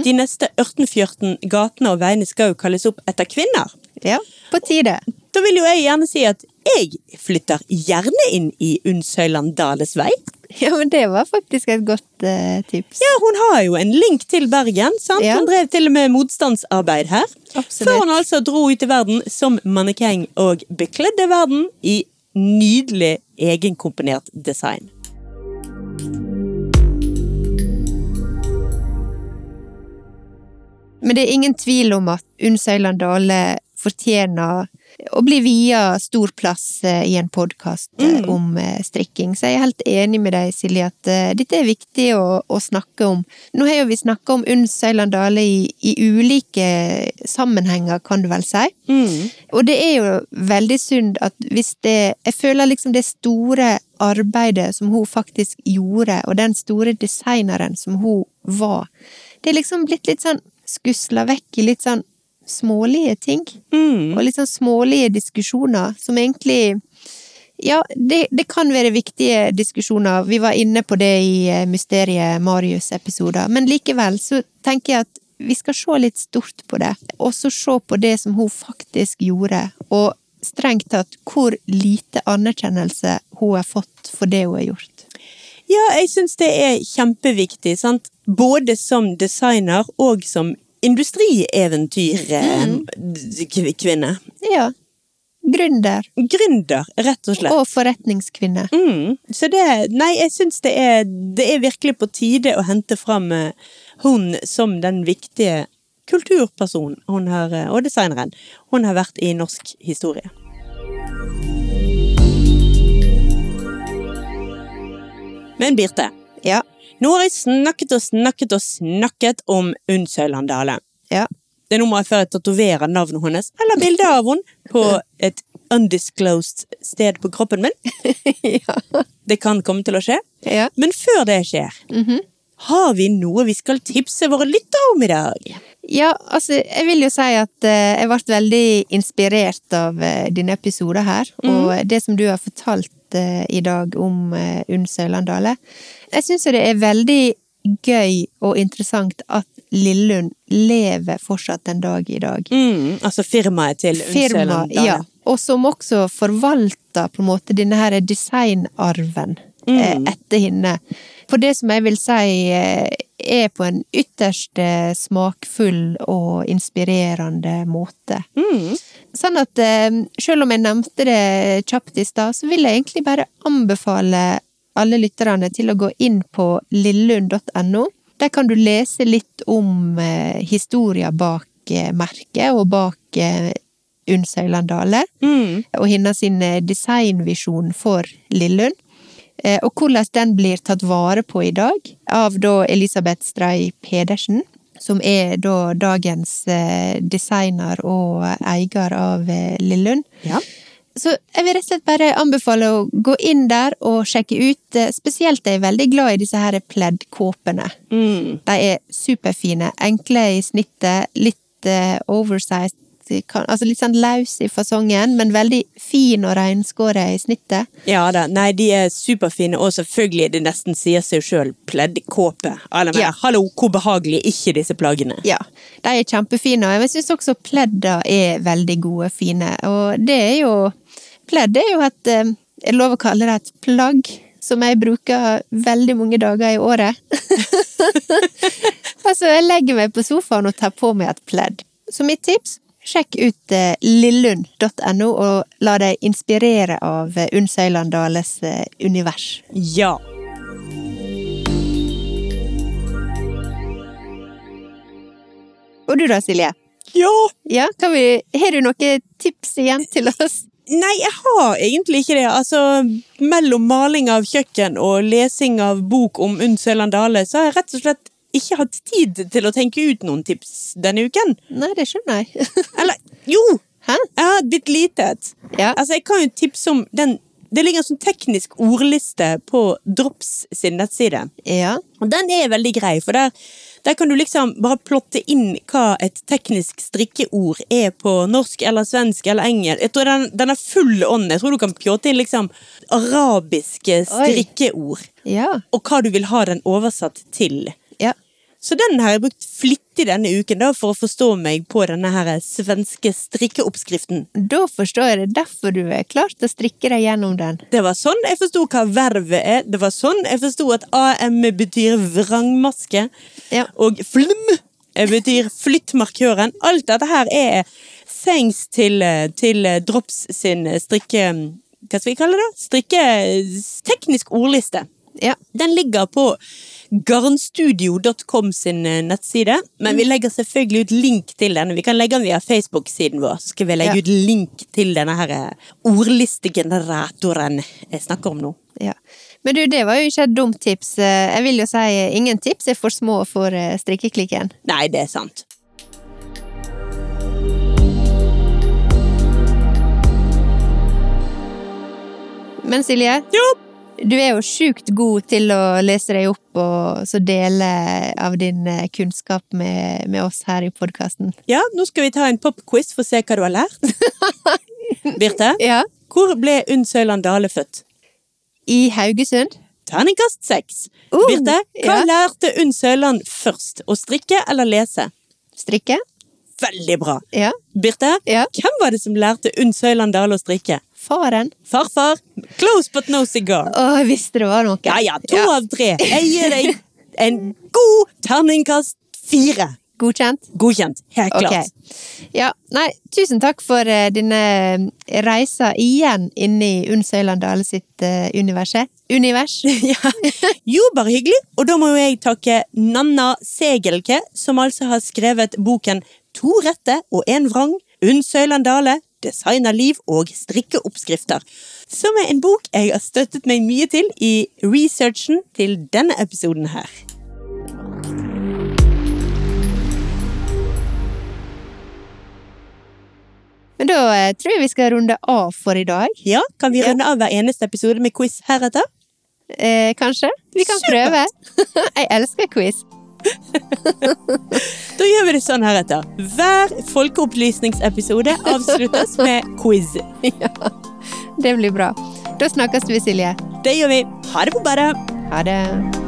Speaker 1: De neste 18-14 gatene og veiene skal jo kalles opp etter kvinner.
Speaker 2: Ja, på tide.
Speaker 1: Da vil jo jeg gjerne si at jeg flytter gjerne inn i Unnsøyland Dales vei.
Speaker 2: Ja, men det var faktisk et godt eh, tips.
Speaker 1: Ja, hun har jo en link til Bergen. sant?
Speaker 2: Ja.
Speaker 1: Hun drev til og med motstandsarbeid her.
Speaker 2: Absolutt.
Speaker 1: Før hun altså dro ut i verden som mannekeng og bekledde verden i nydelig egenkomponert design.
Speaker 2: Men det er ingen tvil om at Unn Søyland Dale fortjener å bli via stor plass eh, i en podkast om eh, strikking. Så jeg er helt enig med deg, Silje, at eh, dette er viktig å, å snakke om. Nå har jo vi snakka om Unn Søyland Dale i, i ulike eh, sammenhenger, kan du vel si. Og det er jo veldig synd at hvis det Jeg føler liksom det store arbeidet som hun faktisk gjorde, og den store designeren som hun var, det er liksom blitt litt sånn skusla vekk i litt sånn smålige ting.
Speaker 1: Mm.
Speaker 2: Og litt sånn smålige diskusjoner som egentlig ja, det, det kan være viktige diskusjoner. Vi var inne på det i eh, Mysteriet Marius-episoder. Men likevel så tenker jeg at vi skal se litt stort på det. Og så se på det som hun faktisk gjorde. Og strengt tatt hvor lite anerkjennelse hun har fått for det hun har gjort.
Speaker 1: Ja, jeg syns det er kjempeviktig, sant? Både som designer og som
Speaker 2: Mm.
Speaker 1: industrieventyrkvinne.
Speaker 2: Ja. Gründer
Speaker 1: Gründer, rett og slett.
Speaker 2: og forretningskvinne.
Speaker 1: Mm. Så det Nei, jeg syns det er Det er virkelig på tide å hente fram eh, hun som den viktige kulturpersonen hun har, eh, og designeren hun har vært i norsk historie. Men Birte,
Speaker 2: Ja.
Speaker 1: nå har jeg snakket og snakket og snakket om Unn Søyland Dale.
Speaker 2: Ja.
Speaker 1: Det er nå må jeg før jeg tatoverer navnet hennes, eller bildet av henne, på et undisclosed sted på kroppen min.
Speaker 2: ja.
Speaker 1: Det kan komme til å skje.
Speaker 2: ja.
Speaker 1: Men før det skjer,
Speaker 2: Mhm.
Speaker 1: har vi noe vi skal tipse våre lyttere om i dag?
Speaker 2: Ja, altså, jeg vil jo si at eh, jeg ble veldig inspirert av eh, denne episoden her, og det som du har fortalt eh, i dag om eh, Unn Sølandale. Jeg syns jo det er veldig gøy og interessant at Lillelund lever fortsatt den dag i dag.
Speaker 1: Mm, altså firmaet til
Speaker 2: Firma,
Speaker 1: Unnsøyland Dale.
Speaker 2: ja, og som også forvalter på en måte denne her designarven eh, etter henne. For det som jeg vil si eh, er på en ytterst eh, smakfull og inspirerende måte.
Speaker 1: Mm,
Speaker 2: Sånn at eh, selv om jeg nevnte det kjapt i stad, så vil jeg egentlig bare anbefale alle lytterne til å gå inn på lillelund.no. Der kan du lese litt om eh, historia bak eh, merket, og bak eh, Unnsøyland Dale.
Speaker 1: Mm.
Speaker 2: Og hennes sin eh, designvisjon for Lillelund. Eh, og hvordan den blir tatt vare på i dag, av da Elisabeth Stray Pedersen. Som er da dagens eh, designer og eier av eh, Lillelund.
Speaker 1: Ja.
Speaker 2: Så jeg vil rett og slett bare anbefale å gå inn der og sjekke ut. eh, Spesielt er jeg veldig glad i disse her pleddkåpene.
Speaker 1: Mm.
Speaker 2: De er superfine, enkle i snittet, litt eh, oversized, kan, altså litt sånn løs i fasongen, men veldig fin og renskåret i snittet.
Speaker 1: Ja da. Nei, de er superfine, og selvfølgelig, det nesten sier seg sjøl, pleddkåpe. Alle mener,
Speaker 2: Ja.
Speaker 1: Hallo, hvor behagelig er ikke disse plaggene?
Speaker 2: Ja, de er kjempefine, og jeg syns også pledda er veldig gode, fine. Og det er jo Pledd er jo et eh, Er det lov å kalle det et plagg? Som jeg bruker veldig mange dager i året. altså, jeg legger meg på sofaen og tar på meg et pledd. Så mitt tips sjekk ut eh, lillund.no, og la deg inspirere av eh, Unn Søyland Dales eh, univers.
Speaker 1: Ja.
Speaker 2: Og du da, Silje?
Speaker 1: Ja!
Speaker 2: Ja, kan vi, har du noen tips igjen til oss?
Speaker 1: Nei, jeg har egentlig ikke det. Altså, mellom maling av kjøkken og lesing av bok om Unn Søland Dale, så har jeg rett og slett ikke hatt tid til å tenke ut noen tips denne uken.
Speaker 2: Nei, det skjønner jeg.
Speaker 1: Eller jo!
Speaker 2: Hæ?
Speaker 1: Jeg har et bitte lite et.
Speaker 2: Ja.
Speaker 1: Altså, jeg kan jo tipse om den Det ligger en sånn teknisk ordliste på Drops sin nettside.
Speaker 2: Ja.
Speaker 1: Og den er veldig grei, for der, der kan du liksom bare plotte inn hva et teknisk strikkeord er på norsk eller svensk eller engelsk. Jeg tror den, den er full ånd. Jeg tror du kan pjåte inn liksom arabiske
Speaker 2: Oi.
Speaker 1: strikkeord.
Speaker 2: Ja.
Speaker 1: Og hva du vil ha den oversatt til.
Speaker 2: Ja.
Speaker 1: Så den har jeg brukt flittig denne uken da, for å forstå meg på denne her svenske strikkeoppskriften.
Speaker 2: Da forstår jeg det. Derfor du er klart å strikke deg gjennom den.
Speaker 1: Det var sånn jeg forsto hva vervet er. Det var sånn jeg forsto at AM betyr vrangmaske.
Speaker 2: Ja.
Speaker 1: Og flm betyr flytt markøren. Alt dette her er sengs til, eh, til Drops sin strikke... Hva skal vi kalle det? Strikke eh, teknisk ordliste.
Speaker 2: Ja.
Speaker 1: Den ligger på garnstudio.com sin eh, nettside, men vi
Speaker 2: Mm.
Speaker 1: legger selvfølgelig ut link til den. Vi kan legge den via Facebook-siden vår, så skal vi legge
Speaker 2: Ja.
Speaker 1: ut link til denne her eh, ordlistegeneratoren jeg snakker om nå.
Speaker 2: ja. Men du, det var jo ikke et dumt tips. Eh, Jeg vil jo si eh, ingen tips er for små for eh, strikkeklikken.
Speaker 1: Nei, det er sant.
Speaker 2: Men Silje,
Speaker 1: Jo!
Speaker 2: du er jo sjukt god til å lese deg opp og så dele av din eh, kunnskap med, med oss her i podkasten.
Speaker 1: Ja, nå skal vi ta en popquiz for å se hva du har lært. Birte,
Speaker 2: Ja.
Speaker 1: hvor ble Unn Søyland Dale født?
Speaker 2: I Haugesund.
Speaker 1: Terningkast seks.
Speaker 2: Oh,
Speaker 1: Birte, hva
Speaker 2: ja.
Speaker 1: lærte Unn Søyland først? Å strikke eller lese?
Speaker 2: Strikke.
Speaker 1: Veldig bra.
Speaker 2: Ja.
Speaker 1: Birte,
Speaker 2: Ja.
Speaker 1: hvem var det som lærte Unn Søyland Dale å strikke?
Speaker 2: Faren.
Speaker 1: Farfar, close but no cigar.
Speaker 2: Å, jeg visste det var noe.
Speaker 1: Ja ja, to av tre. Jeg gir deg en god terningkast fire.
Speaker 2: Godkjent?
Speaker 1: Godkjent. Helt klart.
Speaker 2: Ok. Ja, nei, tusen takk for eh, dine reiser igjen inne i Unn Søyland Dale sitt eh, universet. Univers.
Speaker 1: Ja. Jo, bare hyggelig. Og da må jo jeg takke Nanna Segelke, som altså har skrevet boken To rette og en vrang. Unn Søyland Dale. Designerliv og strikkeoppskrifter. Som er en bok jeg har støttet meg mye til i researchen til denne episoden her.
Speaker 2: Men da eh, tror jeg vi skal runde av for i dag.
Speaker 1: Ja, Kan vi runde av hver eneste episode med quiz heretter?
Speaker 2: Eh, kanskje? Vi kan
Speaker 1: Supert.
Speaker 2: prøve. jeg elsker quiz.
Speaker 1: Da gjør vi det sånn heretter. Hver folkeopplysningsepisode avsluttes med quiz.
Speaker 2: Det blir bra. Da snakkes vi, Silje.
Speaker 1: Det gjør vi. Ha det på badet!
Speaker 2: Ha det.